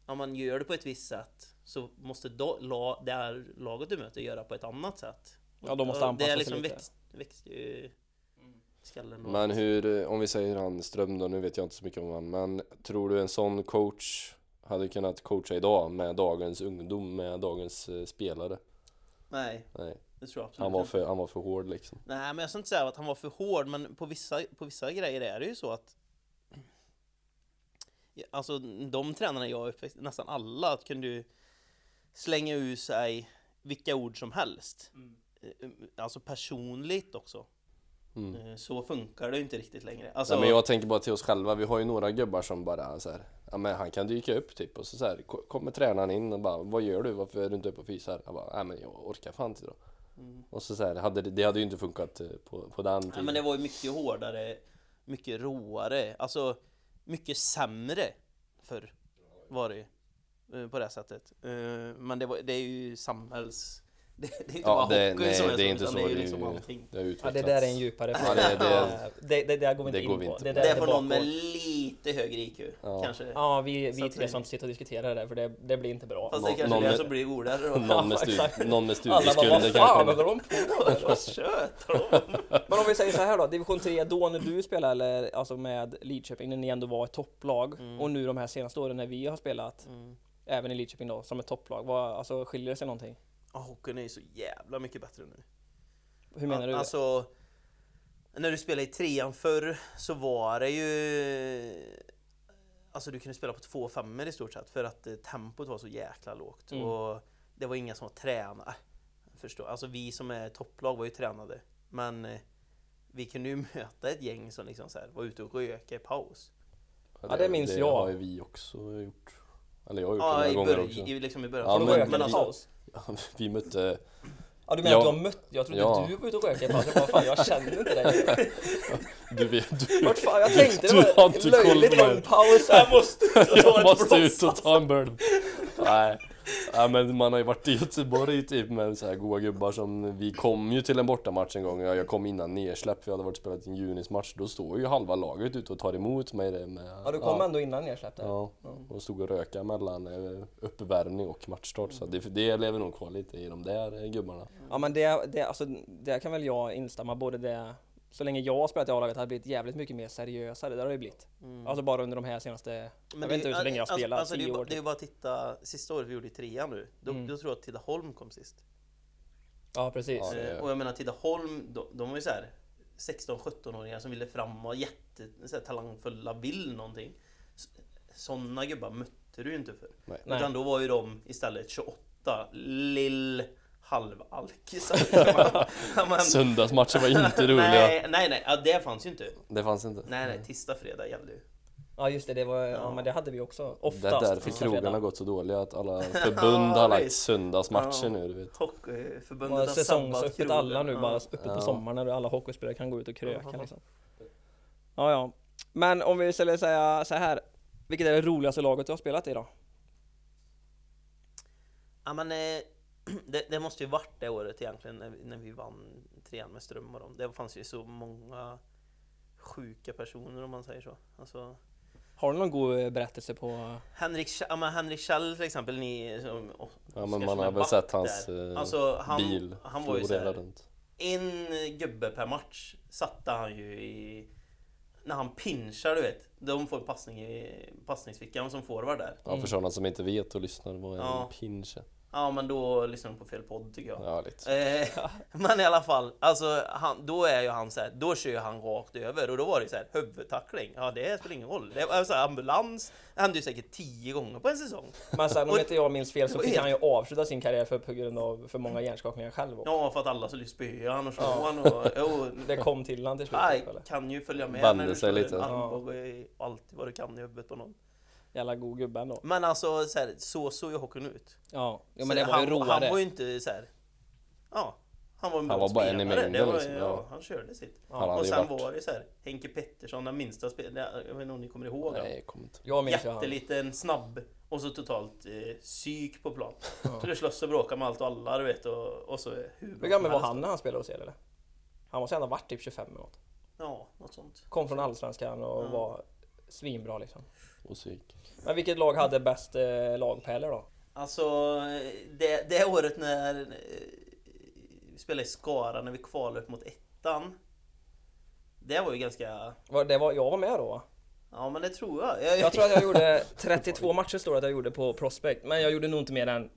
Speaker 3: om man gör det på ett visst sätt så måste då, la, det här laget du möter göra på ett annat sätt.
Speaker 1: Ja, de måste
Speaker 3: Och
Speaker 1: anpassa
Speaker 3: Det är
Speaker 1: sig
Speaker 3: liksom
Speaker 1: lite.
Speaker 3: växt, växt ju skallen. och-
Speaker 2: Men hur, eh, om vi säger han Ström då, nu vet jag inte så mycket om han, men tror du en sån coach hade kunnat coacha idag med dagens ungdom, med dagens eh, spelare?
Speaker 3: Nej,
Speaker 2: Nej,
Speaker 3: det tror jag absolut
Speaker 2: han var
Speaker 3: inte.
Speaker 2: för, han var för hård liksom.
Speaker 3: Nej men jag ska inte säga att han var för hård men på vissa, på vissa grejer är det ju så att <clears throat> Alltså de tränarna jag är uppväxt nästan alla kunde ju slänga ur sig vilka ord som helst.
Speaker 1: Mm.
Speaker 3: Eh, Alltså personligt också.
Speaker 2: Mm.
Speaker 3: Eh, Så funkar det ju inte riktigt längre. Alltså,
Speaker 2: Nej, men jag tänker bara till oss själva, vi har ju några gubbar som bara så här, ja men han kan dyka upp typ och så, så här, ko- kommer tränaren in och bara vad gör du, varför är du inte uppe och fysar? Jag bara, nej men jag orkar fan inte då. Och så, så här, hade det, det hade ju inte funkat eh, på, på den
Speaker 3: Mm. Nej,
Speaker 2: tiden.
Speaker 3: men det var ju mycket hårdare, mycket råare, alltså mycket sämre förr var det ju. eh, På det här sättet. Eh, Men det, var, det är ju samhälls... Det, det är ju inte
Speaker 2: Ja,
Speaker 3: bara
Speaker 2: det-
Speaker 3: hockeyn
Speaker 2: nej,
Speaker 3: som
Speaker 2: det är
Speaker 3: är
Speaker 2: inte
Speaker 3: så, utan
Speaker 2: så,
Speaker 3: det är ju
Speaker 2: det är
Speaker 3: liksom
Speaker 2: ju-
Speaker 3: allting.
Speaker 2: det har
Speaker 1: Ja,
Speaker 2: utvecklats.
Speaker 1: det där är en djupare
Speaker 2: Ja, det- det-
Speaker 1: det, det där går vi inte
Speaker 2: det
Speaker 1: in
Speaker 2: går
Speaker 1: på.
Speaker 2: vi inte
Speaker 1: Det, där
Speaker 2: på.
Speaker 3: Det är
Speaker 1: är
Speaker 3: för någon med
Speaker 1: bakgård.
Speaker 3: lite högre IQ,
Speaker 2: Ja.
Speaker 3: kanske.
Speaker 1: Ja, vi,
Speaker 3: Så
Speaker 1: vi
Speaker 3: att
Speaker 1: tre
Speaker 3: det-
Speaker 1: som sitter och diskuterar det där för det, det blir inte bra.
Speaker 3: Fast det är
Speaker 2: Någon-
Speaker 3: kanske
Speaker 2: någon
Speaker 3: det
Speaker 2: med-
Speaker 3: som blir godare då.
Speaker 2: Någon
Speaker 3: <laughs>
Speaker 2: med,
Speaker 1: exakt.
Speaker 2: stu- någon med
Speaker 1: Alla bara,
Speaker 2: studieskulder
Speaker 1: vad fan
Speaker 2: kanske.
Speaker 1: håller de på med?
Speaker 3: Vad tjötar de om?
Speaker 1: Men om vi säger så här då, division 3 då när du spelade, eller, alltså med Lidköping, när ni ändå var ett topplag och nu de här senaste åren när vi har spelat, även i Lidköping då, som ett topplag, vad, alltså skiljer det sig någonting?
Speaker 3: Ja, Hockeyn är ju så jävla mycket bättre nu.
Speaker 1: Hur menar du?
Speaker 3: Alltså, när du spelade i trean förr så var det ju... Alltså du kunde spela på två femmor i stort sett för att eh, tempot var så jäkla lågt.
Speaker 1: Mm.
Speaker 3: Och det var inga som var tränare. Förstår. Alltså vi som är topplag var ju tränade. Men eh, vi kunde ju <laughs> möta ett gäng som liksom så här, var ute och röka i paus.
Speaker 1: Ja, det minns
Speaker 2: det
Speaker 1: jag.
Speaker 2: har ju vi också gjort. Eller jag har gjort
Speaker 3: Ja,
Speaker 2: det
Speaker 3: i,
Speaker 2: några gånger
Speaker 3: bör-
Speaker 2: också.
Speaker 3: i, liksom i början.
Speaker 2: Ja,
Speaker 1: Ja,
Speaker 2: men-
Speaker 1: men,
Speaker 2: men
Speaker 1: i
Speaker 2: alltså-
Speaker 1: paus?
Speaker 2: Ja, <laughs> vi mötte,
Speaker 1: Ja du menar att
Speaker 2: Ja.
Speaker 1: du har mött? Jag trodde
Speaker 2: Ja.
Speaker 1: du var ute och rökte i paus, jag bara fan jag känner inte
Speaker 2: <laughs>
Speaker 1: dig.
Speaker 2: du vet, du,
Speaker 1: Vart fan, jag tänkte
Speaker 2: Du
Speaker 1: det
Speaker 2: har
Speaker 1: var
Speaker 2: inte
Speaker 1: löjligt
Speaker 2: koll på det.
Speaker 1: lång paus. Jag måste
Speaker 2: jag måste ut och ta en burn. Nej. Ja, men man har ju varit i Göteborg typ med så här goa gubbar som, vi kom ju till en bortamatch en gång, Ja, jag kom innan nedsläpp för jag hade varit och spelat en junismatch, då står ju halva laget ute och tar emot mig. det Med,
Speaker 1: Ja du kom ändå innan jag släppte.
Speaker 2: Ja, och stod och röka mellan eh, uppvärmning och matchstart. Så det, det lever nog kvar lite i de där eh, gubbarna.
Speaker 1: Ja men det, det, alltså, det kan väl jag instämma både det så länge jag har spelat i A-laget har det blivit jävligt mycket mer seriösare, det har det blivit. Alltså bara under de här senaste, jag vet
Speaker 3: Mm. det är ju-
Speaker 1: inte hur länge jag har
Speaker 3: alltså-
Speaker 1: spelat,
Speaker 3: alltså, det är ju
Speaker 1: tio
Speaker 3: bara-
Speaker 1: år
Speaker 3: Det är ju
Speaker 1: typ. Mm.
Speaker 3: bara att titta, sista året vi gjorde i trean nu, då, då tror jag att Tidaholm kom sist.
Speaker 1: Ja precis.
Speaker 2: Ja, det-
Speaker 3: Eh, Och jag menar Tidaholm, de, de var ju så här 16-17-åringar som ville fram och jätte, så här, talangfulla, vill någonting. S- Sådana gubbar mötte du ju inte för.
Speaker 2: Nej.
Speaker 1: Nej.
Speaker 3: Utan då var ju de istället 28 lill halvalkisar.
Speaker 2: <laughs>
Speaker 3: Ja, men-
Speaker 2: Söndagsmatcher var
Speaker 3: <laughs>
Speaker 2: inte roliga. Mm.
Speaker 3: nej, nej, nej, ja, det fanns ju inte.
Speaker 2: Det fanns inte.
Speaker 3: Nej, nej, tisdag, fredag gällde ju.
Speaker 1: Ja just det, det var, ja men det hade vi också.
Speaker 2: Det
Speaker 1: Oftast.
Speaker 2: är därför
Speaker 1: tisdag, fredag.
Speaker 2: krogarna gått så dåliga, att alla förbund har lagt
Speaker 3: visst.
Speaker 2: söndagsmatcher
Speaker 3: Ja.
Speaker 2: nu. Du vet.
Speaker 3: Hockeyförbundet
Speaker 1: Och
Speaker 3: eh, har
Speaker 1: Säsongsöppet
Speaker 3: sabbat
Speaker 1: alla nu
Speaker 3: krogen.
Speaker 1: bara,
Speaker 3: Ja.
Speaker 1: uppe på
Speaker 2: Ja.
Speaker 1: sommaren när alla hockeyspelare kan gå ut och kröka liksom. Ja ja. Men om vi skulle säga så här, vilket är det roligaste laget du har spelat i då?
Speaker 3: Ja men eh, <clears throat> det, det måste ju varit det året egentligen när vi, när vi vann trean med Ström och dem. Det fanns ju så många sjuka personer om man säger så. Alltså,
Speaker 1: Har du någon god eh, berättelse på
Speaker 3: Henrik, Sch- ja, men Henrik Schall till exempel, ni som... och-
Speaker 2: Ja,
Speaker 3: Oskarsson
Speaker 2: men man har
Speaker 3: är
Speaker 2: väl
Speaker 3: back
Speaker 2: sett
Speaker 3: där.
Speaker 2: hans eh,
Speaker 3: Alltså, han-
Speaker 2: bil
Speaker 3: han var ju
Speaker 2: florera
Speaker 3: såhär-
Speaker 2: runt.
Speaker 3: En gubbe per match satte han ju i... När han pinchar du vet. De får passning i passningsfickan som forward där.
Speaker 2: Ja,
Speaker 1: Mm.
Speaker 2: för sådana som inte vet och lyssnar, vad är en
Speaker 3: Ja.
Speaker 2: pinche?
Speaker 3: Ja men då lyssnar de på fel podd tycker jag.
Speaker 2: Ja, lite.
Speaker 3: Eh, <laughs> men i alla fall, alltså, han, då är ju han så här, då kör ju han rakt över och då var det ju så här huvudtackling. Ja, det spelar ingen roll. Det var så här, ambulans, det hände ju säkert tio gånger på en säsong.
Speaker 1: Men sen om inte jag minns fel så
Speaker 3: Och-
Speaker 1: fick han ju avsluta sin karriär för, på grund av för många hjärnskakningar själv också.
Speaker 3: Ja, för att alla skulle spöa han och slå han <laughs> och, och
Speaker 1: Det kom till han till slut. typ,
Speaker 3: aj,
Speaker 1: eller?
Speaker 3: kan ju följa med
Speaker 2: Vände
Speaker 3: när du
Speaker 2: sig
Speaker 3: slår
Speaker 2: lite.
Speaker 3: en armbåge i allt vad du kan i huvudet på någon.
Speaker 1: Jävla god gubbe ändå.
Speaker 3: Men alltså så, här, så såg ju hockeyn ut.
Speaker 1: Ja, ja
Speaker 3: Så
Speaker 1: men det var ju
Speaker 3: han, han var ju
Speaker 1: roligare.
Speaker 3: inte så här. Ja, han var en
Speaker 2: Han
Speaker 3: bra
Speaker 2: var bara en i
Speaker 3: spelare.
Speaker 2: mängden,
Speaker 3: Det var-
Speaker 2: liksom,
Speaker 3: ja,
Speaker 2: ja.
Speaker 3: Han körde sitt.
Speaker 2: Han hade
Speaker 3: och
Speaker 2: ju
Speaker 3: sen
Speaker 2: varit-
Speaker 3: var det så här, Henke Pettersson, den minsta spelaren, jag vet inte om ni kommer ihåg
Speaker 2: Nej,
Speaker 3: honom.
Speaker 2: jag kommer inte.
Speaker 1: Jag minns ju han.
Speaker 3: Jätteliten, snabb och så totalt eh, psyk på plan. <laughs> Så det slåss och bråkar med allt och alla du vet och, och så hur bra
Speaker 1: Hur
Speaker 3: som
Speaker 1: gammal var
Speaker 3: helst.
Speaker 1: han när han spelade hos er eller? Han måste ändå ha varit typ 25 eller något.
Speaker 3: Ja, något sånt.
Speaker 1: Kom från Allsvenskan och var svinbra liksom.
Speaker 2: Och psyk.
Speaker 1: Men vilket lag hade bäst eh, lagpärlor då?
Speaker 3: Alltså eh, det, det året när eh, vi spelade i Skara när vi kvalade upp mot ettan. Det var ju ganska...
Speaker 1: Var, det var, jag var med då va?
Speaker 3: Ja men det tror jag. Jag,
Speaker 1: Jag tror att jag
Speaker 3: <laughs>
Speaker 1: gjorde 32 matcher står det att jag gjorde på Prospect, men jag gjorde nog inte mer än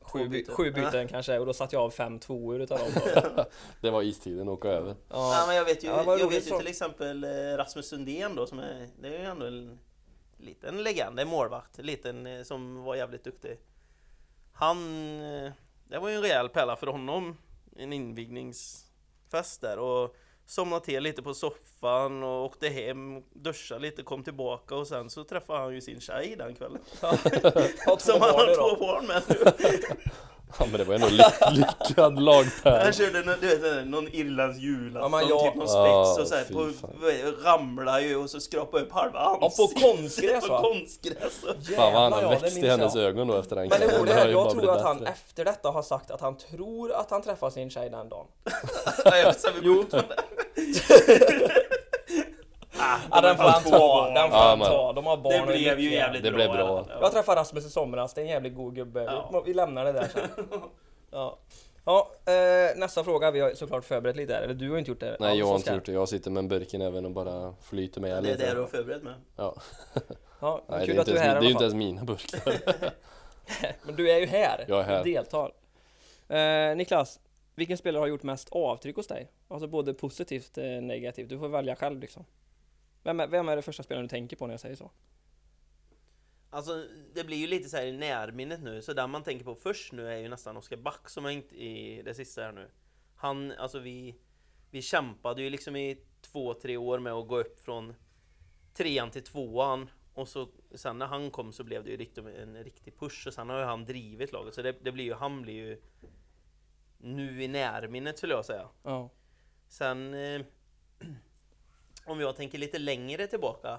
Speaker 1: sju,
Speaker 3: Två
Speaker 1: by-
Speaker 3: byten.
Speaker 1: sju byten kanske och då satt jag av fem tvåor utav
Speaker 3: <laughs>
Speaker 1: dem. Då.
Speaker 2: <laughs> Det var istiden åka över.
Speaker 3: Ja,
Speaker 1: Ja.
Speaker 3: men jag vet ju,
Speaker 1: Ja, vad
Speaker 3: jag
Speaker 1: roligt
Speaker 3: vet ju
Speaker 1: så.
Speaker 3: till exempel eh, Rasmus Sundén då som är, det är ju ändå en liten legend, en målvakt, liten eh, som var jävligt duktig. Han, eh, det var ju en rejäl pärla för honom, en invigningsfest där och somnade till lite på soffan och åkte hem, duschade lite, kom tillbaka och sen så träffade han ju sin tjej den kvällen.
Speaker 1: Ja, två
Speaker 3: <laughs> Som han
Speaker 1: barn
Speaker 3: har
Speaker 1: nu då.
Speaker 3: två barn med nu.
Speaker 2: Ja, men det var
Speaker 1: <laughs>
Speaker 2: ändå ly- lyckad lagpärla.
Speaker 3: Han körde någon, du vet, någon irländsk
Speaker 1: Ja,
Speaker 3: julafton,
Speaker 1: men jag-
Speaker 3: typ någon
Speaker 2: Ah,
Speaker 3: spets och så här,
Speaker 2: fy
Speaker 3: på,
Speaker 2: fan.
Speaker 3: vad- ramlar ju och så skrapar upp halva
Speaker 1: Ja, på
Speaker 3: ansiktet.
Speaker 1: konstgräs
Speaker 3: <laughs> På
Speaker 1: va?
Speaker 3: konstgräs.
Speaker 2: Fan vad han
Speaker 1: Jävlar,
Speaker 2: har
Speaker 1: ja, det
Speaker 2: växt i
Speaker 1: minns
Speaker 2: hennes
Speaker 1: jag.
Speaker 2: ögon då efter den
Speaker 1: Men det
Speaker 2: kvällen.
Speaker 1: roliga
Speaker 2: har
Speaker 1: är,
Speaker 2: ju bara
Speaker 1: jag tror
Speaker 2: blivit
Speaker 1: att han
Speaker 2: bättre.
Speaker 1: efter detta har sagt att han tror att han träffar sin tjej den dagen.
Speaker 3: Ja, jag vet inte, vi går ut med det. Ah,
Speaker 1: <laughs> Ja, den får han ta, den får
Speaker 2: Ja,
Speaker 1: han
Speaker 2: men-
Speaker 1: ta. De har barn
Speaker 3: Det
Speaker 1: och
Speaker 3: blev ju
Speaker 1: mycket.
Speaker 3: jävligt
Speaker 2: Det
Speaker 3: bra.
Speaker 2: blev
Speaker 3: i alla
Speaker 2: bra.
Speaker 3: fall.
Speaker 1: Jag träffade Rasmus i somras, det är en jävligt god gubbe.
Speaker 3: Ja.
Speaker 1: Vi, vi lämnar det där sen. Ja, ja eh, nästa fråga. Vi har såklart förberett lite här, eller du har inte gjort det.
Speaker 2: Nej,
Speaker 1: alls,
Speaker 2: jag har inte
Speaker 1: Oskar.
Speaker 2: gjort det. Jag sitter med en burk i näven och bara flyter med
Speaker 3: Det är
Speaker 2: lite.
Speaker 3: det du har förberett med.
Speaker 2: Ja.
Speaker 1: Ja, men
Speaker 2: Nej, det
Speaker 1: kul
Speaker 2: är,
Speaker 1: att
Speaker 2: inte
Speaker 1: du är
Speaker 2: ens, min-
Speaker 1: här i alla
Speaker 2: det är ju inte
Speaker 1: fall.
Speaker 2: ens mina
Speaker 1: <laughs>
Speaker 2: burkar.
Speaker 1: Men du är ju här.
Speaker 2: Jag är här.
Speaker 1: Du deltar. Eh, Niklas, vilken spelare har gjort mest avtryck hos dig? Alltså både positivt och negativt. Du får välja själv liksom. Vem är, vem är det första spelaren du tänker på när jag säger så?
Speaker 3: Alltså det blir ju lite så här i närminnet nu, så där man tänker på först nu är ju nästan Oskar Back som har hängt i det sista här nu. Han, alltså vi, vi kämpade ju liksom i två, tre år med att gå upp från trean till tvåan och så sen när han kom så blev det ju riktigt, en riktig push och sen har ju han drivit laget så det, det blir ju, han blir ju nu i närminnet skulle jag säga.
Speaker 1: Ja.
Speaker 3: Sen eh, om jag tänker lite längre tillbaka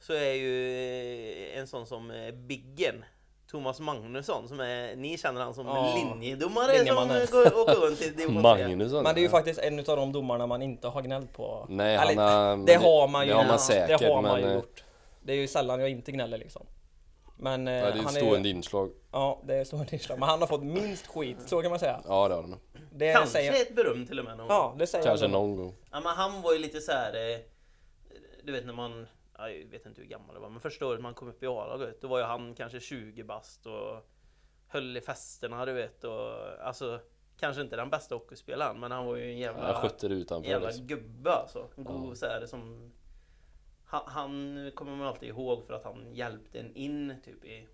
Speaker 3: så är ju eh, en sån som eh, Biggen, Thomas Magnusson, som är, ni känner han som
Speaker 1: Ja,
Speaker 3: linjedomare som
Speaker 1: linjemannen.
Speaker 3: eh, går, åker runt till
Speaker 2: <laughs>
Speaker 3: division tre.
Speaker 2: Magnusson.
Speaker 1: Men det är ju faktiskt en av de domarna man inte har gnällt på.
Speaker 2: Nej,
Speaker 1: Eller,
Speaker 2: han har, men
Speaker 1: det har man ju.
Speaker 2: Det har man
Speaker 1: gjort.
Speaker 2: säkert.
Speaker 1: det har man
Speaker 2: men,
Speaker 1: ju
Speaker 2: eh,
Speaker 1: gjort. Det är ju sällan jag inte gnäller liksom. Men eh,
Speaker 2: Ja, det är ju
Speaker 1: han
Speaker 2: stående
Speaker 1: är,
Speaker 2: inslag.
Speaker 1: Ja, det är stående inslag. Men han har fått minst skit, så kan man säga.
Speaker 2: Ja, det har han.
Speaker 1: Det
Speaker 3: Kanske
Speaker 1: säger...
Speaker 3: ett beröm till och med någon gång.
Speaker 1: Ja, det säger
Speaker 2: Kanske
Speaker 1: jag.
Speaker 2: någon gång.
Speaker 3: Ja, men han var ju lite så här. eh, Du vet när man, ja, jag vet inte hur gammal det var, men första året man kom upp i A-laget, då var ju han kanske 20 bast och höll i festerna, du vet. Och, alltså, kanske inte den bästa hockeyspelaren, men han var ju en jävla,
Speaker 2: Jag skötte det utanför.
Speaker 3: jävla
Speaker 2: Liksom.
Speaker 3: gubbe alltså. En god så här, som... Han, han kommer man alltid ihåg för att han hjälpte en in typ i...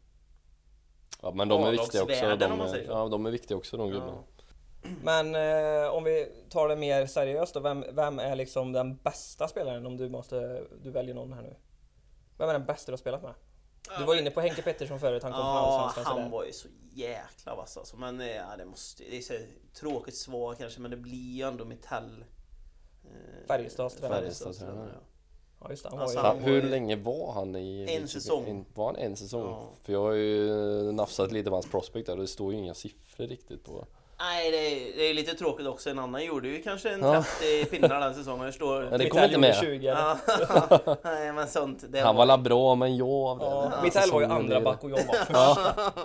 Speaker 2: Ja, men de är viktiga också.
Speaker 3: Avlagsvärden,
Speaker 2: De
Speaker 3: om man
Speaker 2: är,
Speaker 3: säger så.
Speaker 2: ja, de är viktiga också de gubbarna.
Speaker 1: Men eh, om vi tar det mer seriöst då, vem, vem är liksom den bästa spelaren om du måste, du väljer någon här nu? Vem är den bästa du har spelat med? Du var inne på Henke Pettersson förut, han kom från
Speaker 3: Ja,
Speaker 1: Allsvenskan
Speaker 3: han
Speaker 1: sådär.
Speaker 3: var ju så jäkla vass alltså. Men eh, ja, det måste Det är så här tråkigt svar kanske, men det blir ju ändå Metall. eh,
Speaker 1: Färjestads tränare.
Speaker 2: Färjestads tränare.
Speaker 3: ja.
Speaker 1: Ja just det, han
Speaker 3: Alltså,
Speaker 1: var ju...
Speaker 2: Ha,
Speaker 3: han var
Speaker 2: hur
Speaker 3: ju-
Speaker 2: länge var han i... liksom,
Speaker 3: En säsong.
Speaker 2: var han en säsong?
Speaker 3: Ja.
Speaker 2: För jag har ju nafsat lite på hans prospect där och det står ju inga siffror riktigt på.
Speaker 3: Nej, det är, det är lite tråkigt också. En annan gjorde ju kanske en
Speaker 2: Ja.
Speaker 3: 30 pinnar den säsongen. Jag förstår.
Speaker 2: Men det
Speaker 1: Mitt
Speaker 2: kommer inte
Speaker 1: Ell gjorde
Speaker 2: med.
Speaker 1: 20, eller?
Speaker 2: <laughs>
Speaker 3: Ja. Nej, men sånt. Det
Speaker 2: Han var la bra men jag av den
Speaker 1: Ja,
Speaker 2: här
Speaker 1: Mitt Ell var ju
Speaker 3: Alltså,
Speaker 2: säsongen
Speaker 1: andra
Speaker 2: är-
Speaker 1: back och jag var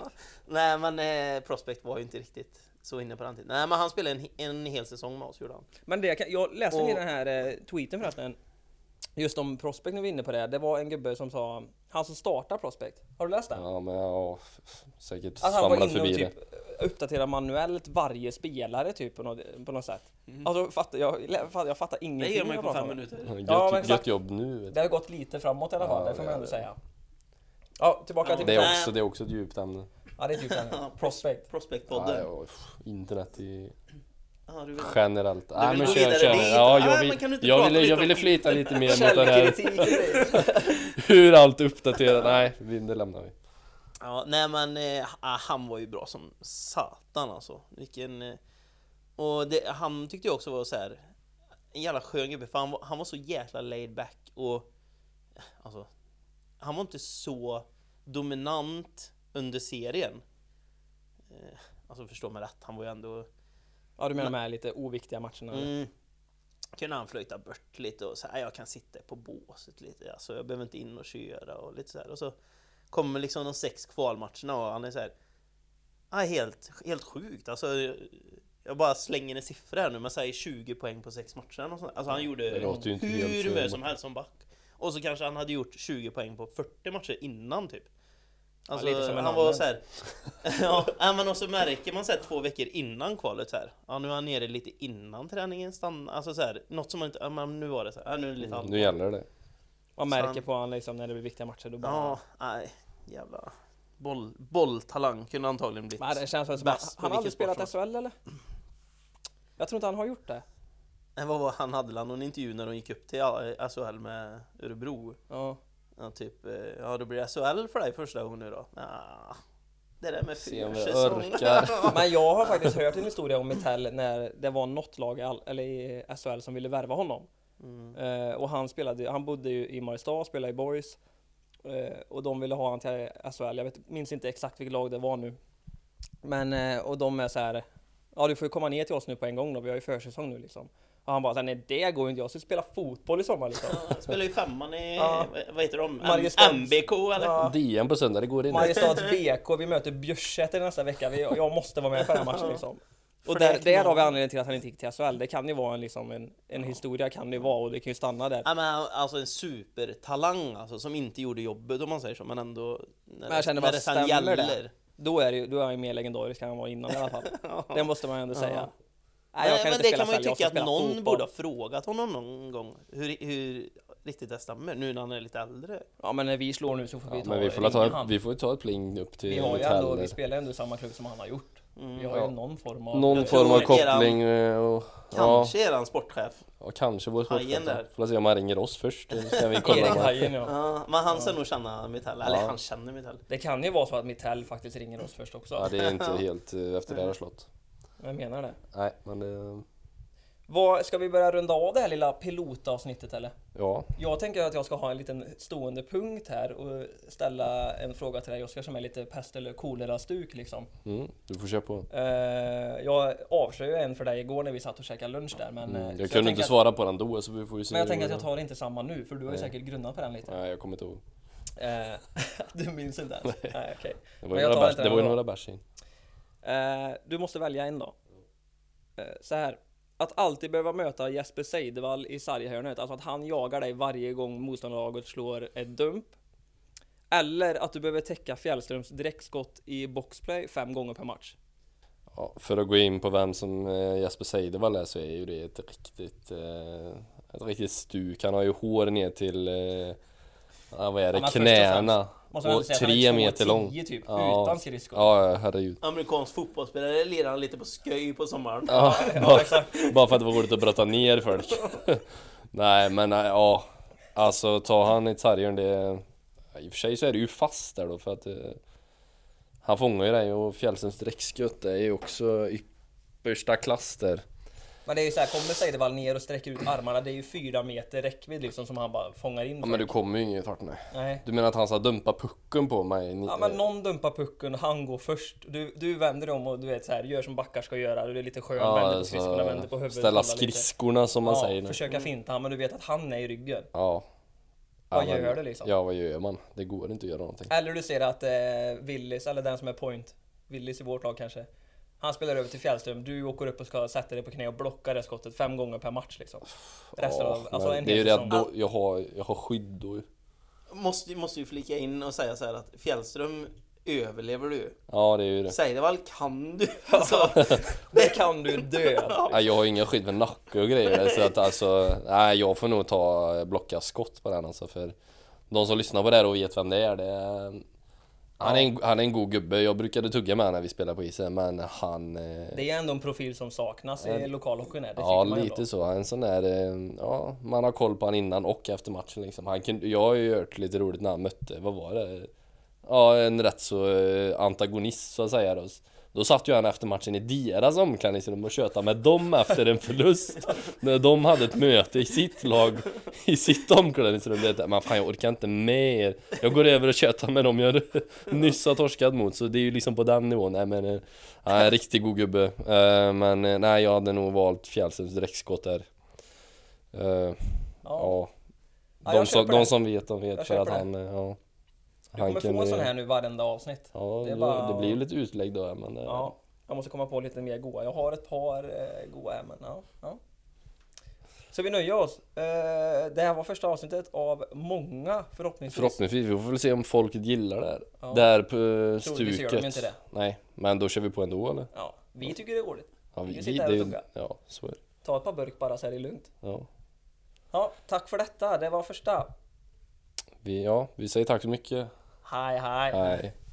Speaker 3: <laughs>
Speaker 1: först.
Speaker 3: Nej, men eh, Prospect var ju inte riktigt så inne på den tiden. Nej, men han spelade en, en hel säsong med oss, gjorde han.
Speaker 1: Men det, kan- jag läste
Speaker 3: Och-
Speaker 1: i den här eh, tweeten förresten Just om Prospect när vi är inne på det, det var en gubbe som sa Han som startar Prospect, har du läst det?
Speaker 2: Ja men ja, f- f- säkert
Speaker 1: Att han var
Speaker 2: svamla
Speaker 1: inne och
Speaker 2: förbi
Speaker 1: typ
Speaker 2: det.
Speaker 1: uppdaterade manuellt varje spelare typ på något, på något sätt. Alltså fattar, jag, jag fattar- jag fattar ingenting.
Speaker 3: Mhm. Det
Speaker 1: när
Speaker 3: gör man ju
Speaker 1: jag pratar
Speaker 3: på fem
Speaker 1: om det.
Speaker 3: minuter.
Speaker 2: Gött,
Speaker 1: Ja, men exakt.
Speaker 2: gött jobb nu. Vet
Speaker 1: Det
Speaker 2: du.
Speaker 1: har gått lite framåt i alla fall,
Speaker 2: Ja,
Speaker 1: det får
Speaker 2: det
Speaker 1: man ändå
Speaker 2: är det.
Speaker 1: säga. Ja, tillbaka
Speaker 3: Ja.
Speaker 1: till...
Speaker 2: Det är,
Speaker 3: Nej.
Speaker 2: också, det är också ett djupt ämne.
Speaker 1: Ja, det är typ en prospect.
Speaker 3: Prospect-podden.
Speaker 2: Nej, och, pff, internet i
Speaker 3: Ja, du vet.
Speaker 2: Generellt. Nej,
Speaker 3: vill
Speaker 2: men
Speaker 3: gå
Speaker 2: kör,
Speaker 3: vidare
Speaker 2: kör.
Speaker 3: dit.
Speaker 2: Ja,
Speaker 3: Nej,
Speaker 2: jag,
Speaker 3: men kan du
Speaker 2: vill,
Speaker 3: inte
Speaker 2: jag,
Speaker 3: prata
Speaker 2: ville,
Speaker 3: lite
Speaker 2: jag
Speaker 3: om-
Speaker 2: ville flita lite mer mot det här
Speaker 1: Källkritik och grejer.
Speaker 2: hur allt uppdaterat. Nej, vi- det lämnar vi.
Speaker 3: Ja, nej men eh, ah, han var ju bra som satan alltså. Vilken... Eh, och det, han tyckte jag också var så här en jävla skön gubbe för han var, han var så jäkla laid back och... eh, Alltså... Han var inte så dominant under serien. Eh, alltså förstå mig rätt, han var ju ändå...
Speaker 1: Ja du menar de här lite oviktiga matcherna? eller?
Speaker 3: Mm. Kunde han flöjta bort lite och så här, jag kan sitta på båset lite, alltså jag behöver inte in och köra och lite så här. Och så kommer liksom de sex kvalmatcherna och han är så här, ah, helt, helt sjukt alltså. Jag bara slänger en siffra här nu, men säger 20 poäng på sex matcher och sånt. Alltså han gjorde
Speaker 2: Det låter ju inte helt
Speaker 3: hur
Speaker 2: fel.
Speaker 3: mycket som helst som back. Och så kanske han hade gjort 20 poäng på 40 matcher innan typ. Alltså,
Speaker 1: lite som en
Speaker 3: han var
Speaker 1: annan.
Speaker 3: så här, <laughs> ja, ja, men och så märker man så här två veckor innan kvalet så här. Ja, nu är han nere lite innan träningen stannar. Alltså så här, något som man inte... Ja, men nu var det så här. Ja, nu är det lite
Speaker 2: Mm, Nu
Speaker 3: allvar.
Speaker 2: gäller det.
Speaker 1: Man märker
Speaker 3: han-
Speaker 1: på honom liksom när det blir viktiga matcher då bara...
Speaker 3: Ja, nej. Jävla... Boll, bolltalang kunde antagligen blivit.
Speaker 1: Men det känns väl som
Speaker 3: Bäst
Speaker 1: att
Speaker 3: på
Speaker 1: han har aldrig
Speaker 3: vilken
Speaker 1: spelat SHL eller? Jag tror inte han har gjort det.
Speaker 3: Nej, vad var han? Hade väl någon intervju när de gick upp till eh, SHL med Örebro?
Speaker 1: Ja.
Speaker 3: Ja, typ... eh, Ja, då blir det SHL för dig första gången nu då? Ja, det där med
Speaker 2: Se om vi
Speaker 3: försäsong. <laughs>
Speaker 1: <laughs>
Speaker 2: orkar.
Speaker 1: Men jag har faktiskt hört en historia om Mitell när det var något lag i all- eller i SHL som ville värva honom.
Speaker 3: Mm.
Speaker 1: Eh, och han spelade, ju- han bodde ju i Mariestad, spelade i Boys. Eh, och de ville ha han till SHL, jag vet, minns inte exakt vilket lag det var nu. Men, eh, och de är så här, ja du får ju komma ner till oss nu på en gång då, vi har ju försäsong nu liksom. Och han bara, så här, nej det går ju inte, jag ska spela fotboll i sommar
Speaker 3: <laughs>
Speaker 1: liksom.
Speaker 3: Ja, Spelar ju femman i...
Speaker 1: Ja.
Speaker 3: Vad heter de?
Speaker 1: Mariestad.
Speaker 3: MBK eller?
Speaker 1: Ja.
Speaker 2: DN på söndag, det går in.
Speaker 1: Mariestads BK, vi möter Björsäter nästa vecka, vi, jag måste vara med på den här matchen liksom. Och
Speaker 3: För
Speaker 1: där,
Speaker 3: det kan
Speaker 1: där har vi
Speaker 3: man-
Speaker 1: anledningen till att han inte gick till SHL. Det kan ju vara en, liksom en, en historia, kan det ju vara, och det kan ju stanna där.
Speaker 3: Ja, men han- alltså en supertalang alltså, som inte gjorde jobbet om man säger så, men ändå... När,
Speaker 1: Men jag känner,
Speaker 3: när
Speaker 1: vad stämmer det?
Speaker 3: gäller.
Speaker 1: Då är, det, ju- då är han ju mer legendarisk än han var innan i
Speaker 3: <laughs>
Speaker 1: alla fall. Det måste man ju ändå säga. Nej,
Speaker 3: Nej,
Speaker 1: jag kan
Speaker 3: men
Speaker 1: inte
Speaker 3: det
Speaker 1: spela
Speaker 3: kan man ju
Speaker 1: SHL, jag
Speaker 3: tycka
Speaker 1: ska
Speaker 3: att
Speaker 1: spela
Speaker 3: någon
Speaker 1: fotboll.
Speaker 3: borde ha frågat honom någon gång hur, hur riktigt det stämmer, nu när han är lite äldre.
Speaker 1: Ja men när vi slår nu så får vi
Speaker 2: Ja,
Speaker 1: ta
Speaker 2: men vi får, väl ta,
Speaker 1: vi,
Speaker 2: vi får ju ta ett pling upp till
Speaker 1: vi har ju ändå,
Speaker 2: Mitell.
Speaker 1: vi spelar ju ändå i samma klubb som han har gjort.
Speaker 3: Mm.
Speaker 1: Vi har ju
Speaker 2: Ja.
Speaker 1: någon form av...
Speaker 2: Någon
Speaker 3: Jag
Speaker 2: form av
Speaker 3: tror att eran-
Speaker 2: koppling eh, och... Ja,
Speaker 3: Kanske är han sportchef.
Speaker 2: ja, kanske vår
Speaker 3: Hajen
Speaker 2: sportchef.
Speaker 3: där.
Speaker 2: Får se om han ringer oss först. så Ska vi
Speaker 1: Erik
Speaker 2: kolla.
Speaker 1: Hajen, ja.
Speaker 3: Ja, men han ska nog känna Mitell, eller
Speaker 2: Ja.
Speaker 3: han känner Mitell.
Speaker 1: Det kan ju vara så att Mitell faktiskt ringer oss först också.
Speaker 2: Ja, det
Speaker 1: <laughs>
Speaker 2: är inte helt eh, efter det här har slått.
Speaker 1: Jag menar det.
Speaker 2: Nej, men eh, det...
Speaker 1: Vad, ska vi börja runda av det här lilla pilotavsnittet eller?
Speaker 2: Ja,
Speaker 1: Jag tänker att jag ska ha en liten stående punkt här och ställa en fråga till dig Oskar som är lite pest eller kolera-stuk liksom.
Speaker 2: mm, du får köra på.
Speaker 1: Eh, jag avslöjade en för dig igår när vi satt och käkade lunch där men... eh,
Speaker 2: Mm,
Speaker 1: så
Speaker 2: jag kunde
Speaker 1: tänker
Speaker 2: inte
Speaker 1: att,
Speaker 2: svara på den då så vi får ju se.
Speaker 1: Men jag
Speaker 2: hur-
Speaker 1: tänker att jag tar inte samma nu för du har ju
Speaker 2: Nej.
Speaker 1: säkert grunnat på den lite.
Speaker 2: Nej, jag kommer inte ihåg.
Speaker 1: Eh, <laughs> du minns inte ens? Nej, okej.
Speaker 2: Det var
Speaker 1: Men
Speaker 2: ju
Speaker 1: jag
Speaker 2: några
Speaker 1: tar
Speaker 2: bärs,
Speaker 1: inte
Speaker 2: det
Speaker 1: den
Speaker 2: var ju
Speaker 1: då.
Speaker 2: några bärs in.
Speaker 1: Eh, du måste välja en då. Eh, så här. Att alltid behöva möta Jesper Seidevall i sarghörnet, alltså att han jagar dig varje gång motståndarlaget slår ett dump. Eller att du behöver täcka Fjällströms direktskott i boxplay fem gånger per match.
Speaker 2: Ja, för att gå in på vem som eh, Jesper Seidevall är så är ju det ett riktigt, eh, ett riktigt stuk. Han har ju hår ner till, eh, ja, vad är det,
Speaker 1: men först och
Speaker 2: knäna.
Speaker 1: Måste man
Speaker 2: Och
Speaker 1: ändå säga att han är
Speaker 2: tre meter
Speaker 1: 2,10
Speaker 2: lång.
Speaker 1: typ,
Speaker 2: Ja.
Speaker 1: utan skridskor.
Speaker 2: Ja, ja, herregud.
Speaker 3: Amerikansk fotbollsspelare lirar han lite på sköj på sommaren.
Speaker 2: Ja, bara, bara för att det var roligt att brotta
Speaker 1: <laughs>
Speaker 2: ner folk. Nej men eh, ja, alltså ta han i sargen det... I och för sig så är det ju fast där då för att eh, han fångar ju dig och Fjällströms direktskutt är ju också yppersta klass där.
Speaker 1: Men det är ju så här, kommer Seidevall ner och sträcker ut armarna, det är ju fyra meter räckvidd liksom som han bara fångar in.
Speaker 2: Ja, men
Speaker 1: folk.
Speaker 2: du kommer ju ingen vart nej.
Speaker 1: Nej.
Speaker 2: Du menar att han ska dumpa pucken på mig? Ni-
Speaker 1: Ja men någon dumpar pucken, han går först. Du, du vänder om och du vet så här, gör som backar ska göra. Du är lite skön,
Speaker 2: Ja,
Speaker 1: vänder på
Speaker 2: alltså,
Speaker 1: skridskorna, vänder på huvudet.
Speaker 2: Ställa
Speaker 1: kollar lite.
Speaker 2: skridskorna som man
Speaker 1: ja,
Speaker 2: säger nu.
Speaker 1: försöka finta han, men du vet att han är i ryggen.
Speaker 2: Ja.
Speaker 1: Vad
Speaker 2: Ja, men-
Speaker 1: gör du liksom?
Speaker 2: Ja vad gör man? Det går inte att göra någonting.
Speaker 1: Eller du ser att eh, Willis, eller den som är point, Willis i vårt lag kanske. Han spelar över till Fjällström, du åker upp och ska sätta dig på knä och blocka det skottet fem gånger per match liksom. Resten av,
Speaker 2: Ja,
Speaker 1: alltså
Speaker 2: men
Speaker 1: en
Speaker 2: det är ju
Speaker 1: hel
Speaker 2: det att
Speaker 1: säsong.
Speaker 2: då, jag, har, jag har skydd då ju.
Speaker 3: Måste, måste ju flika in och säga så här att Fjällström överlever du.
Speaker 2: Ja det är ju det.
Speaker 3: Seideval kan du <laughs> alltså.
Speaker 1: Det kan du dö!
Speaker 2: Nej, jag har inga skydd för nacke och grejer så att alltså, nej jag får nog ta blocka skott på den alltså för de som lyssnar på det här och vet vem det är, det är Han är, en, han är en god gubbe, jag brukade tugga med honom när vi spelade på isen men han... eh,
Speaker 1: Det är ändå en profil som saknas i lokalhockeyn. här, Det
Speaker 2: Ja,
Speaker 1: tycker man ju ändå.
Speaker 2: lite så. Han är En sån där, eh, ja, man har koll på han innan och efter matchen liksom. Han kunde, jag har ju hört lite roligt när han mötte, vad var det? Ja, en rätt så eh, antagonist så att säga då. Då satt ju han efter matchen i deras omklädningsrum och tjötade med dem efter
Speaker 1: <laughs>
Speaker 2: en förlust. När de hade ett möte i sitt lag, i sitt omklädningsrum. Det är, men fan jag orkar inte med er. Jag går över och tjötar med dem jag <laughs> nyss har torskat mot. Så det är ju liksom på den nivån. Nej men, eh, han är en riktig god gubbe. Eh, Men eh, nej, jag hade nog valt Fjällströms direktskott där. Eh,
Speaker 1: Ja.
Speaker 2: Ja.
Speaker 1: Ja,
Speaker 2: De,
Speaker 1: jag
Speaker 2: som,
Speaker 1: köper
Speaker 2: de
Speaker 1: det.
Speaker 2: som vet, de vet.
Speaker 1: Jag
Speaker 2: För att
Speaker 1: köper det.
Speaker 2: han, eh, ja.
Speaker 1: Du kommer få en sån här nu varenda avsnitt.
Speaker 2: Ja,
Speaker 1: Det
Speaker 2: det,
Speaker 1: är bara-
Speaker 2: det blir ju lite utlägg då men eh,
Speaker 1: Ja, jag måste komma på lite mer goa. Jag har ett par eh, goa här, men ja, ja. Så vi nöjer oss. Eh, det här var första avsnittet av många förhoppningsvis.
Speaker 2: Förhoppningsvis, vi får väl se om folket gillar det här.
Speaker 1: Ja.
Speaker 2: Det här på eh,
Speaker 1: Troligtvis gör
Speaker 2: stuket.
Speaker 1: de inte det.
Speaker 2: Nej, men då kör vi på ändå eller?
Speaker 1: Ja, vi tycker det är roligt.
Speaker 2: Ja,
Speaker 1: Vi sitter här och
Speaker 2: det är ju-
Speaker 1: tuggar.
Speaker 2: Ja, så är det.
Speaker 1: Ta ett par burk bara så här det är lugnt.
Speaker 2: Ja.
Speaker 1: Ja, tack för detta. Det var första.
Speaker 2: Vi, ja, vi säger tack så mycket.
Speaker 1: Hej hej.
Speaker 2: Hej.